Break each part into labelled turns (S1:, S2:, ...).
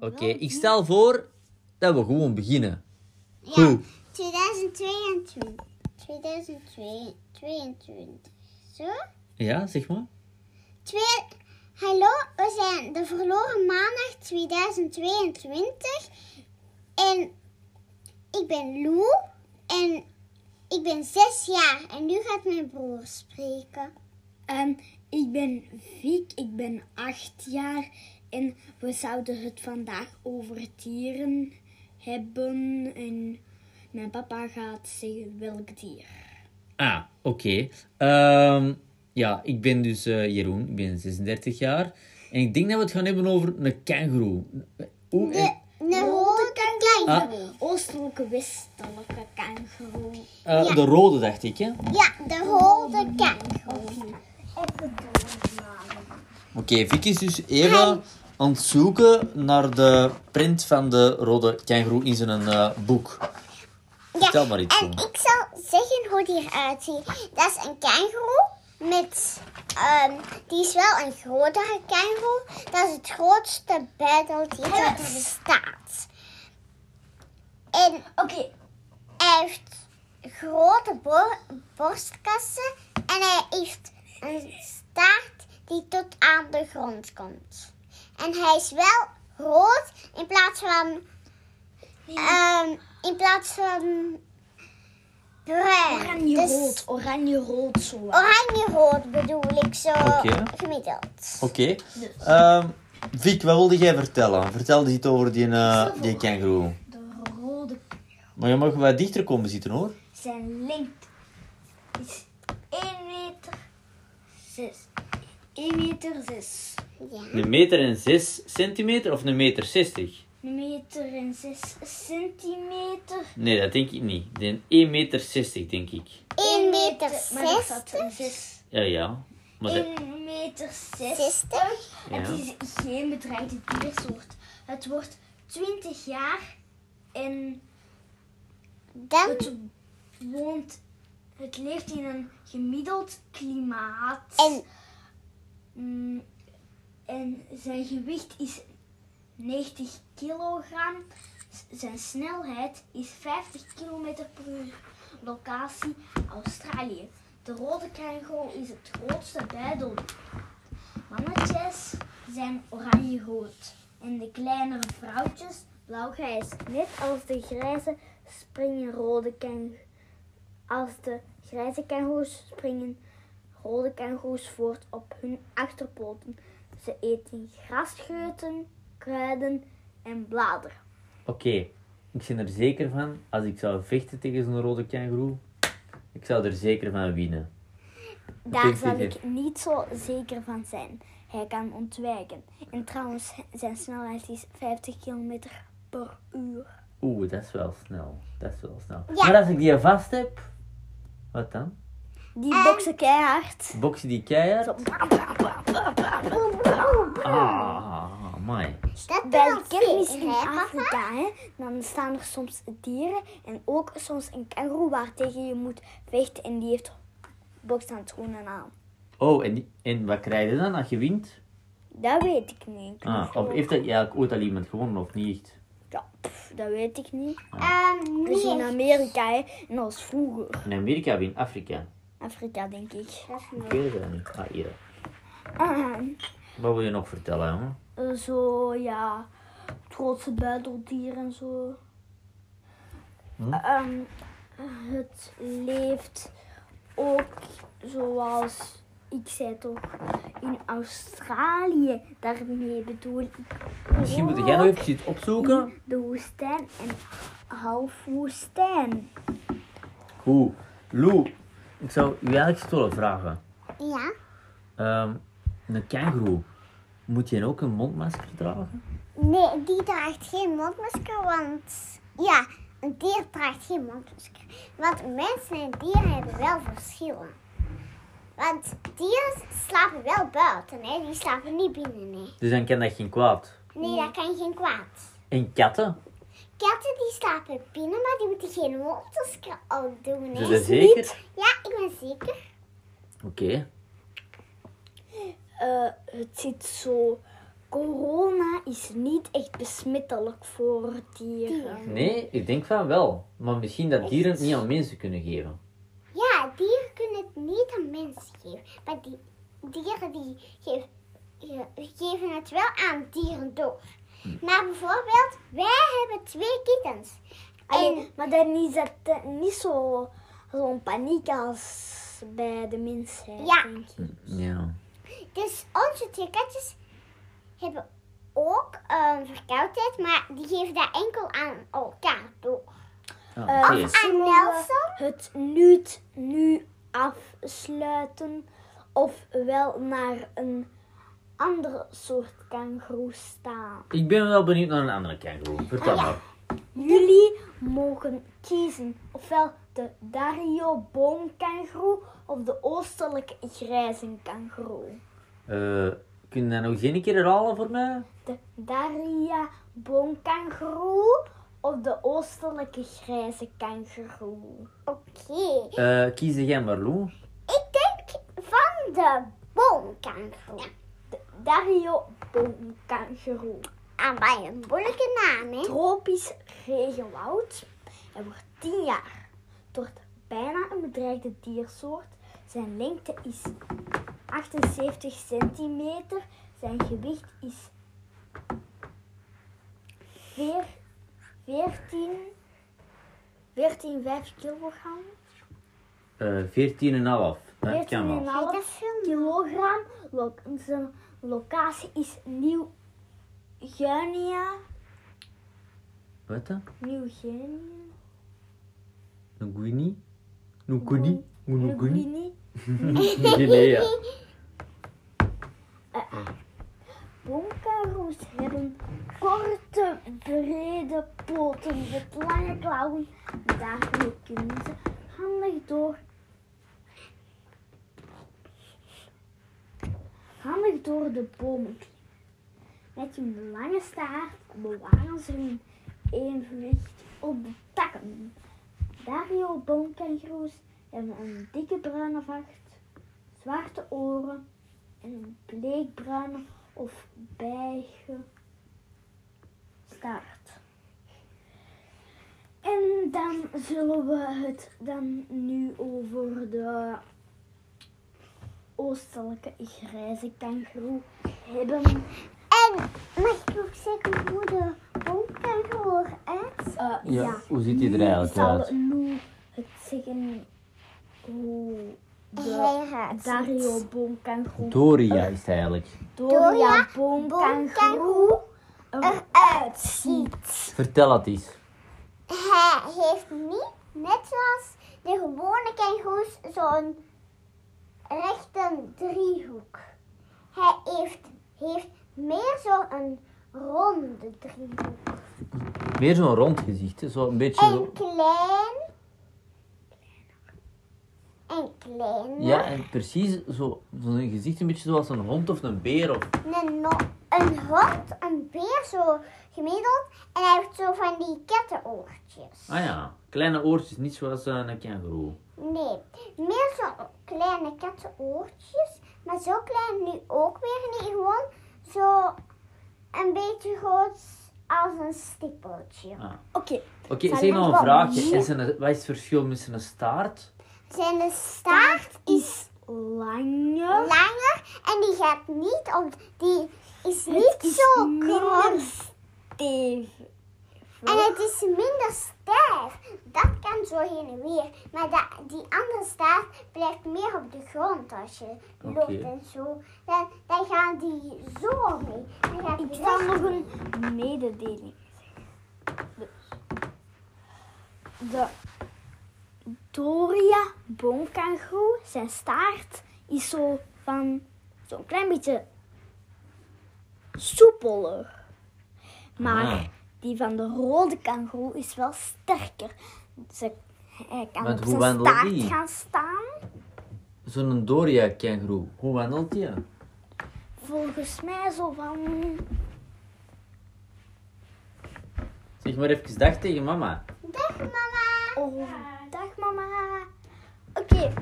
S1: Oké, ik stel voor dat we gewoon beginnen. Goed.
S2: 2022. 2022. Zo?
S1: Ja, zeg maar.
S2: Twee... Hallo, we zijn de verloren maandag 2022. En ik ben Lou. En ik ben zes jaar. En nu gaat mijn broer spreken.
S3: En Ehm, ik ben Viek, ik ben acht jaar en we zouden het vandaag over dieren hebben. En mijn papa gaat zeggen welk dier.
S1: Ah, oké. Ehm, ja, ik ben dus eh, Jeroen, ik ben 36 jaar. En ik denk dat we het gaan hebben over een kangoeroe. Hoe-
S2: De, de rode
S1: Ah.
S2: kangaroo.
S3: Oostelijke, westelijke kangaroo.
S1: eh, De rode, dacht ik, hè? Oké,
S2: Ja, de rode kangaroo.
S1: Vicky is dus even aan het zoeken naar de print van de rode kangoeroe in zijn eh, boek. Vertel maar iets,
S2: En
S1: Lou.
S2: ik zal zeggen hoe die eruit ziet. Dat is een kangoeroe met... ehm, die is wel een grotere kangoeroe. Dat is het grootste buideldier dat er bestaat. En
S3: Oké,
S2: hij heeft grote bor- borstkassen. En hij heeft een staart die tot aan de grond komt. En hij is wel rood in plaats van... ehm, in plaats van... Bruin.
S3: oranje
S2: Dus
S3: rood, oranje rood zo.
S2: Oranje-rood bedoel ik zo
S1: Oké.
S2: gemiddeld.
S1: Oké.
S2: Dus.
S1: Ehm, Vic, wat wilde jij vertellen? Vertel iets over die, eh, die kangoeroe.
S3: De rode
S1: Maar je mag wat dichter komen zitten, hoor.
S3: zijn lengte is 1 meter 6. 1 meter 6.
S2: Ja.
S1: Een meter en zes centimeter of een meter zestig?
S3: meter en 6 centimeter.
S1: Nee, dat denk ik niet. Ik denk 1,60 meter, 60, denk ik.
S2: 1 meter
S3: eh,
S2: dus?
S3: Maar dat staat
S2: 60.
S3: een zes.
S1: Ja, ja. Maar dat-
S3: 1 meter 60.
S2: 60.
S1: Ja.
S3: Het is geen bedreigde diersoort. Het wordt 20 jaar en
S2: Dan,
S3: het woont. Het leeft in een gemiddeld klimaat.
S2: En-
S3: Mm, en zijn gewicht is 90 kilogram. S- Zijn snelheid is 50 kilometer per uur. Locatie Australië. De rode kangoeroe is het grootste buidel. Mannetjes zijn oranje-rood. En de kleinere vrouwtjes blauw-grijs. Net als de grijze springen rode kangoeroes. Als de grijze kangoeroes springen Rode kangoeroes voort op hun achterpoten. Ze eten grasscheuten, kruiden en bladeren.
S1: Oké, ik ben er zeker van, als ik zou vechten tegen zo'n rode kangoeroe, ik zou er zeker van winnen.
S3: Daar
S1: Vind je
S3: zal
S1: dit?
S3: ik niet zo zeker van zijn. Hij kan ontwijken. En trouwens, zijn snelheid is 50 km per uur.
S1: Oeh, dat is wel snel. Dat is wel snel.
S2: Ja.
S1: Maar als ik die vast heb, wat dan?
S3: Die
S2: En-
S3: boksen keihard.
S1: Box je die keihard? Ah, amai.
S2: dat
S3: Bij
S2: wel
S3: de kermis
S2: zeker,
S3: in
S2: hè, papa?
S3: Afrika, hè, dan staan er soms dieren en ook soms een kangoeroe waar tegen je moet vechten en die heeft bokshandschoenen aan.
S1: Oh, en, die- en wat krijg je dan als je wint?
S3: Dat weet ik niet. Ik
S1: Ah, of
S3: geloof-
S1: heeft dat eigenlijk ooit al iemand gewonnen of niet echt?
S3: Ja, pff, dat weet ik niet.
S2: Ehm,
S3: Dat is in
S2: nee.
S3: Amerika, hè. En dat was vroeger.
S1: In Amerika of in Afrika?
S3: Afrika, denk ik.
S1: Ik weet het niet. Ah, hier.
S3: Ah,
S1: Wat wil je nog vertellen, jongen?
S3: eh, zo, ja. Trotse buideldier en zo.
S1: Hm?
S3: Ehm, het leeft ook, zoals ik zei toch, in Australië. Daarmee bedoel ik
S1: Misschien moet jij nog even iets opzoeken.
S3: in de woestijn en half woestijn.
S1: Goed. Lou, ik zou u eigenlijk eens willen vragen.
S2: Ja.
S1: Ehm, een kangoeroe, moet je ook een mondmasker dragen?
S2: Nee, die draagt geen mondmasker, want... Ja, een dier draagt geen mondmasker. Want mensen en dieren hebben wel verschillen. Want dieren slapen wel buiten, hè. Die slapen niet binnen, hè.
S1: Dus dan kan dat geen kwaad.
S2: Nee, dat kan geen kwaad.
S1: En katten?
S2: Katten die slapen binnen, maar die moeten geen mondmasker opdoen,
S1: Zijn
S2: hè.
S1: ze zeker?
S2: Ja, ik ben zeker.
S1: Oké.
S3: Eh, het zit zo corona is niet echt besmettelijk voor dieren.
S1: Nee, ik denk van wel. Maar misschien dat dieren het niet aan mensen kunnen geven.
S2: Ja, dieren kunnen het niet aan mensen geven. Maar die dieren die geef- ge- geven het wel aan dieren door. Maar bijvoorbeeld, wij hebben twee kittens. En
S3: Allee, maar dan is dat eh, niet zo- zo'n paniek als bij de mensheid,
S2: Ja.
S3: denk ik.
S1: Ja.
S2: dus onze twee katjes hebben ook een verkoudheid, maar die geven dat enkel aan elkaar door.
S1: Ah,
S3: Eh,
S1: oké.
S2: Aan
S3: Zullen we
S2: Nelson?
S3: Het niet nu afsluiten of wel naar een andere soort kangoeroe staan.
S1: Ik ben wel benieuwd naar een andere kangoeroe. Vertel maar.
S3: Jullie mogen kiezen ofwel de Dario boomkangoeroe of de oostelijke grijze kangoeroe.
S1: Eh, kun je dat nog eens een keer herhalen voor mij?
S3: De Daria boomkangoeroe of de oostelijke grijze kangoeroe.
S2: Oké,
S1: Eh, kies jij maar, Lou.
S2: ik denk van de boomkangoeroe.
S3: De Dario boomkangoeroe.
S2: Ah, bij een moeilijke naam, hè?
S3: tropisch regenwoud. Hij wordt 10 jaar. Tot bijna een bedreigde diersoort. Zijn lengte is 78 centimeter. Zijn gewicht is veer- 14, 14 5 kilogram.
S1: Eh 14,5. Dat kan wel.
S3: 14,5
S2: Dat film.
S3: kilogram. Lo- zijn locatie is Nieuw-Guinea.
S1: Wat dan?
S3: Nieuw-Guinea.
S1: Een guinea? Een guinea? Een guinea?
S3: Nieuw-Guinea.
S1: Guinea.
S3: Bonkaroes hebben korte, brede poten met lange klauwen. Daarmee kunnen ze handig door. Handig door de bomen klimmen. Met hun lange staart bewaren ze hun evenwicht op de takken. Dario boomkangoeroes hebben een dikke bruine vacht, zwarte oren en een bleekbruine of bijgestaard. En dan zullen we het dan nu over de oostelijke grijze kangoeroe hebben.
S2: En mag ik ook zeggen hoe de boomkangoeroe eruit?
S3: Eh,
S1: Ja, hoe ziet die er eigenlijk uit?
S3: zal nu het zeggen hoe de
S2: Hij eruit
S3: Dario boomkangoeroe,
S1: Doria is het eigenlijk.
S2: Doria
S3: Doria boomkangoeroe er
S2: eruit ziet.
S1: Vertel het eens.
S2: Hij heeft niet, net zoals de gewone kangoes, zo'n rechte driehoek. Hij heeft, heeft meer zo'n ronde driehoek.
S1: Meer zo'n rond gezicht, hè, zo een beetje
S2: En
S1: zo.
S2: klein. En klein.
S3: Eh.
S1: Ja, en precies zo- zo'n gezicht, een beetje zoals een hond of een beer. Of...
S2: een, no- een hond, een beer zo gemiddeld. En hij heeft zo van die kettenoortjes.
S1: Ah ja, kleine oortjes, niet zoals eh, een kangoeroe.
S2: Nee, meer zo kleine kettenoortjes. Maar zo klein nu ook weer niet. Gewoon zo een beetje groot als een stippeltje.
S1: Ah.
S3: Oké,
S1: Oké,
S3: Zal
S1: zeg
S3: ik
S1: nog een
S3: wat
S1: vraagje.
S3: meer?
S1: Is een, wat is het verschil met een staart?
S2: Zijn de staart is
S3: is langer.
S2: langer en die gaat niet om. Die is
S3: Het
S2: niet
S3: is
S2: zo
S3: minder
S2: krom.
S3: stevig.
S2: En het is minder stijf. Dat kan zo heen en weer. Maar dat- die andere staart blijft meer op de grond als je loopt
S1: Oké.
S2: en zo. Dan, dan gaan die zo mee. Dan gaat
S3: Ik
S2: die
S3: zal
S2: weg.
S3: nog een mededeling zeggen. Dus, de Doria boomkangoeroe, zijn staart is zo van zo'n klein beetje soepeler. Maar
S1: Ah.
S3: die van de rode kangoeroe is wel sterker. Ze, hij kan
S1: Want
S3: op
S1: hoe
S3: zijn
S1: wandelt
S3: staart
S1: die?
S3: gaan staan.
S1: Zo'n Doria kangoeroe, hoe wandelt die?
S3: Volgens mij zo van
S1: Zeg maar even dag tegen mama.
S2: Dag mama.
S3: Oh, dag mama. Oké,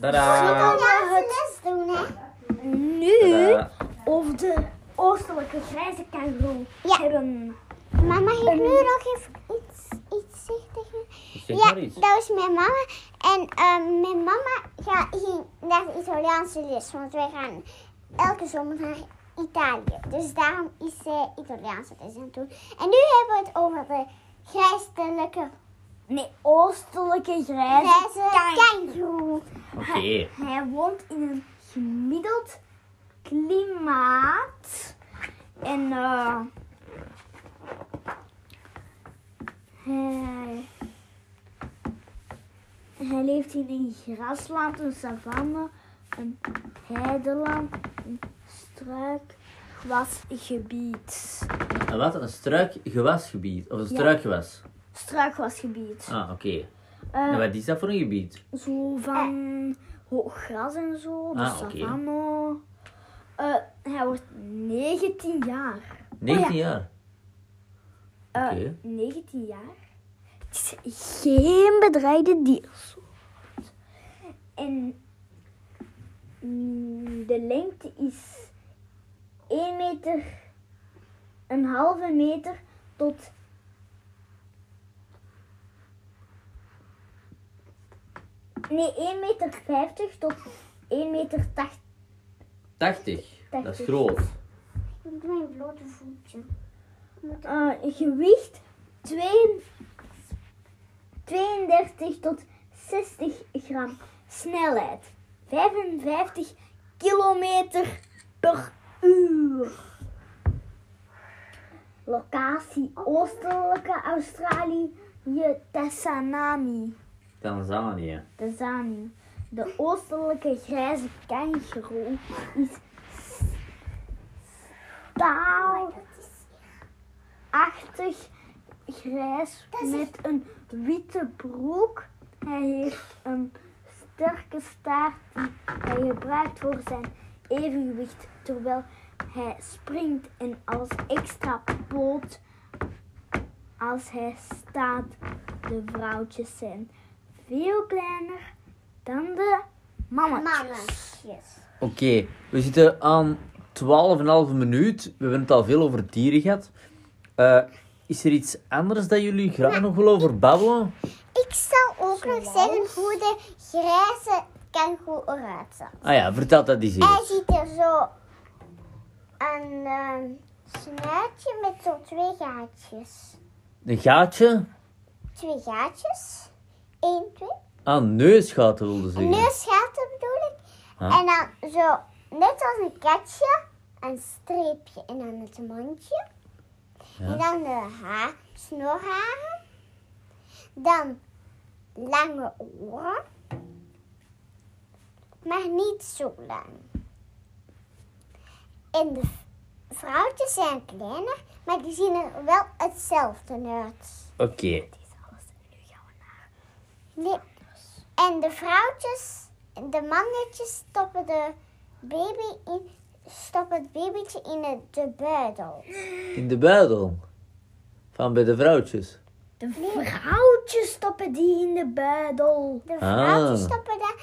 S1: Tada!
S2: Ja, ze les doen hè.
S3: nu
S1: Tada.
S3: of de oostelijke grijze kangoeroe
S2: Ja.
S3: hebben.
S2: Mama heeft nu nog even iets, iets zeggen tegen me.
S1: Zeg
S2: ja,
S1: maar iets.
S2: dat is mijn mama. En ehm, mijn mama gaat ging naar de Italiaanse les, want wij gaan elke zomer naar Italië. Dus daarom is ze Italiaanse les aan het doen. En nu hebben we het over de grijstelijke,
S3: Nee, oostelijke grijze,
S2: grijze
S3: kangoeroe.
S2: kangoeroe.
S1: Oké.
S3: Hij woont in een gemiddeld klimaat. En eh, hij, hij leeft in een grasland, een savanne, een heideland, een struik, wasgebied.
S1: En wat? Een struikgewasgebied? Of een struikgewas?
S3: Struikwasgebied.
S1: Ah, oké.
S3: Eh, Oh,
S1: En wat is dat voor een gebied?
S3: Zo van hoog gras en zo, de
S1: Ah, oké.
S3: savanne. Eh, hij wordt 19 jaar.
S1: 19 jaar.
S3: Eh,
S1: Oké.
S3: 19 jaar. Het is geen bedreigde diersoort. En mm, de lengte is 1 meter, een halve meter tot 1 meter 50 tot 1 meter 80.
S1: 80. Dat is
S3: 80.
S1: groot.
S2: Met mijn blote voetje.
S3: Eh, gewicht 2 32 tot 60 gram. Snelheid 55 kilometer per uur. Locatie Oostelijke Australië, Tassanami.
S1: Tanzania.
S3: De zani. De oostelijke grijze kangoeroe is staalachtig grijs met een witte broek. Hij heeft een sterke staart die hij gebruikt voor zijn evenwicht terwijl hij springt en als extra poot als hij staat. De vrouwtjes zijn veel kleiner dan de mannetjes.
S1: Oké, we zitten aan 12,5 minuut. We hebben het al veel over dieren gehad. Eh, is er iets anders dat jullie graag nog willen over babbelen?
S2: Ik zal ook nog zeggen hoe de grijze kangoeroe eruit ziet.
S1: Ah ja, vertel dat eens
S2: Hij
S1: eerst.
S2: ziet er zo een ehm, snuitje met zo twee gaatjes.
S1: Een gaatje
S2: Twee gaatjes. Eén, twee.
S1: aan neusgaten wilde
S2: Een
S1: zeggen.
S2: neusgaten bedoel ik.
S1: Huh?
S2: En dan zo, net als een katje, een streepje en dan het mondje.
S1: Ja.
S2: En dan de haar, snorharen. Dan lange oren. Maar niet zo lang. En de v- vrouwtjes zijn kleiner, maar die zien er wel hetzelfde uit.
S1: Oké,
S2: Nee. En de vrouwtjes, de mannetjes stoppen de baby in, stoppen het babytje in het- de buidel.
S1: in de buidel. Van bij de vrouwtjes.
S3: De vrouwtjes stoppen die in de buidel.
S2: De vrouwtjes
S1: Ah.
S2: stoppen dat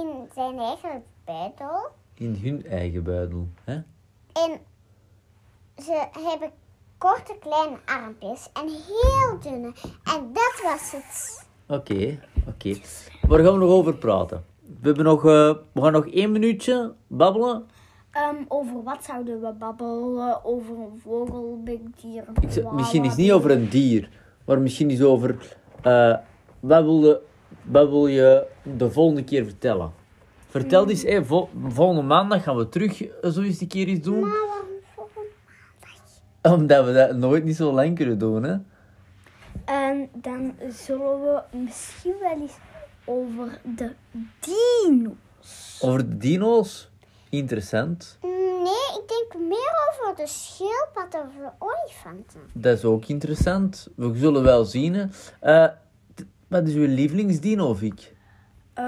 S2: in zijn eigen buidel.
S1: In hun eigen buidel. Hè?
S2: En ze hebben korte kleine armpjes en heel dunne. En dat was het.
S1: Oké, oké. Waar gaan we nog over praten? We, hebben nog, eh, we gaan nog één minuutje babbelen.
S3: Ehm, over wat zouden we babbelen? Over een vogel, big dier, een
S1: Ik zeg,
S3: koala,
S1: misschien is niet over een dier, maar misschien is over eh, wat, wil je, wat wil je de volgende keer vertellen? Vertel eens, eh, vol- volgende maandag gaan we terug eh, zo eens een keer iets doen.
S2: Maar waarom volgende
S1: Omdat we dat nooit niet zo lang kunnen doen, hè?
S3: En dan zullen we misschien wel eens over de dino.
S1: Over de dino's? Interessant.
S2: Nee, ik denk meer over de schildpad of de olifanten.
S1: Dat is ook interessant. We zullen wel zien. hè. Eh, t- wat is uw lievelingsdino, Vic?
S3: Eh,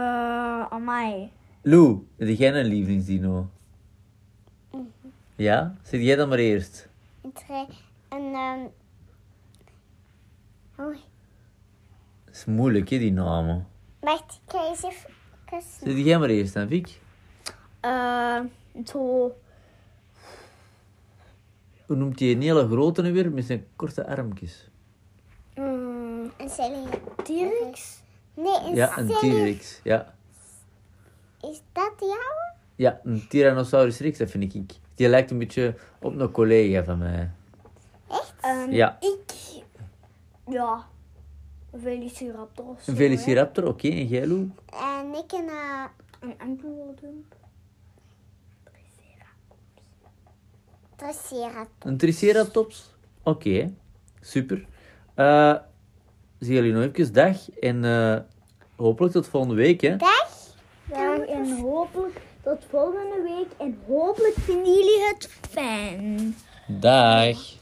S3: amai.
S1: Lou, heb jij een lievelingsdino? Ja? Zit jij dan maar eerst?
S2: Een, tre- eh, een ehm, hoe
S1: Dat is moeilijk, hè, die namen.
S2: Wacht, ik ga eens even kussen.
S1: Zit jij maar eerst aan, Vic?
S3: Eh, zo.
S1: hoe noemt die een hele grote nu weer, met zijn korte armpjes?
S4: Mm,
S2: Een Celine.
S4: T-Rex?
S2: Nee, een
S1: Ja, een
S2: Celine.
S1: T-Rex. Ja.
S2: Is dat jou?
S1: ja, een Tyrannosaurus Rex, dat vind ik. Die lijkt een beetje op een collega van mij.
S4: Ehm,
S1: Ja.
S4: Ik... Ja. Velociraptor of zo,
S1: Een
S4: hè.
S1: Velociraptor, oké, en jij Lou?
S2: En ik en eh,
S4: Een ankylodump.
S2: Triceratops.
S1: Een Triceratops? Oké, super. Eh zie jullie nog even. Dag en eh, hopelijk tot volgende week. Hè.
S2: Dag.
S3: Dag en hopelijk tot volgende week. En hopelijk vinden jullie het fijn.
S1: Dag.